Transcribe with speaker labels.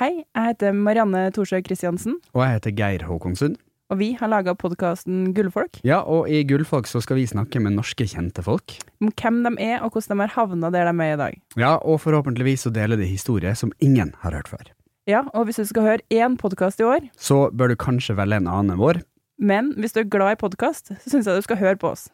Speaker 1: Hei, jeg heter Marianne Thorsø Christiansen,
Speaker 2: Og jeg heter Geir Håkonsund.
Speaker 1: og vi har laga podkasten Gullfolk.
Speaker 2: Ja, og i Gullfolk så skal vi snakke med norske kjente folk.
Speaker 1: Om hvem de er, og hvordan de har havna der de er i dag.
Speaker 2: Ja, og forhåpentligvis så deler de historier som ingen har hørt før.
Speaker 1: Ja, og hvis du skal høre én podkast i år,
Speaker 2: Så bør du kanskje velge en annen enn vår.
Speaker 1: men hvis du er glad i podkast, så syns jeg du skal høre på oss.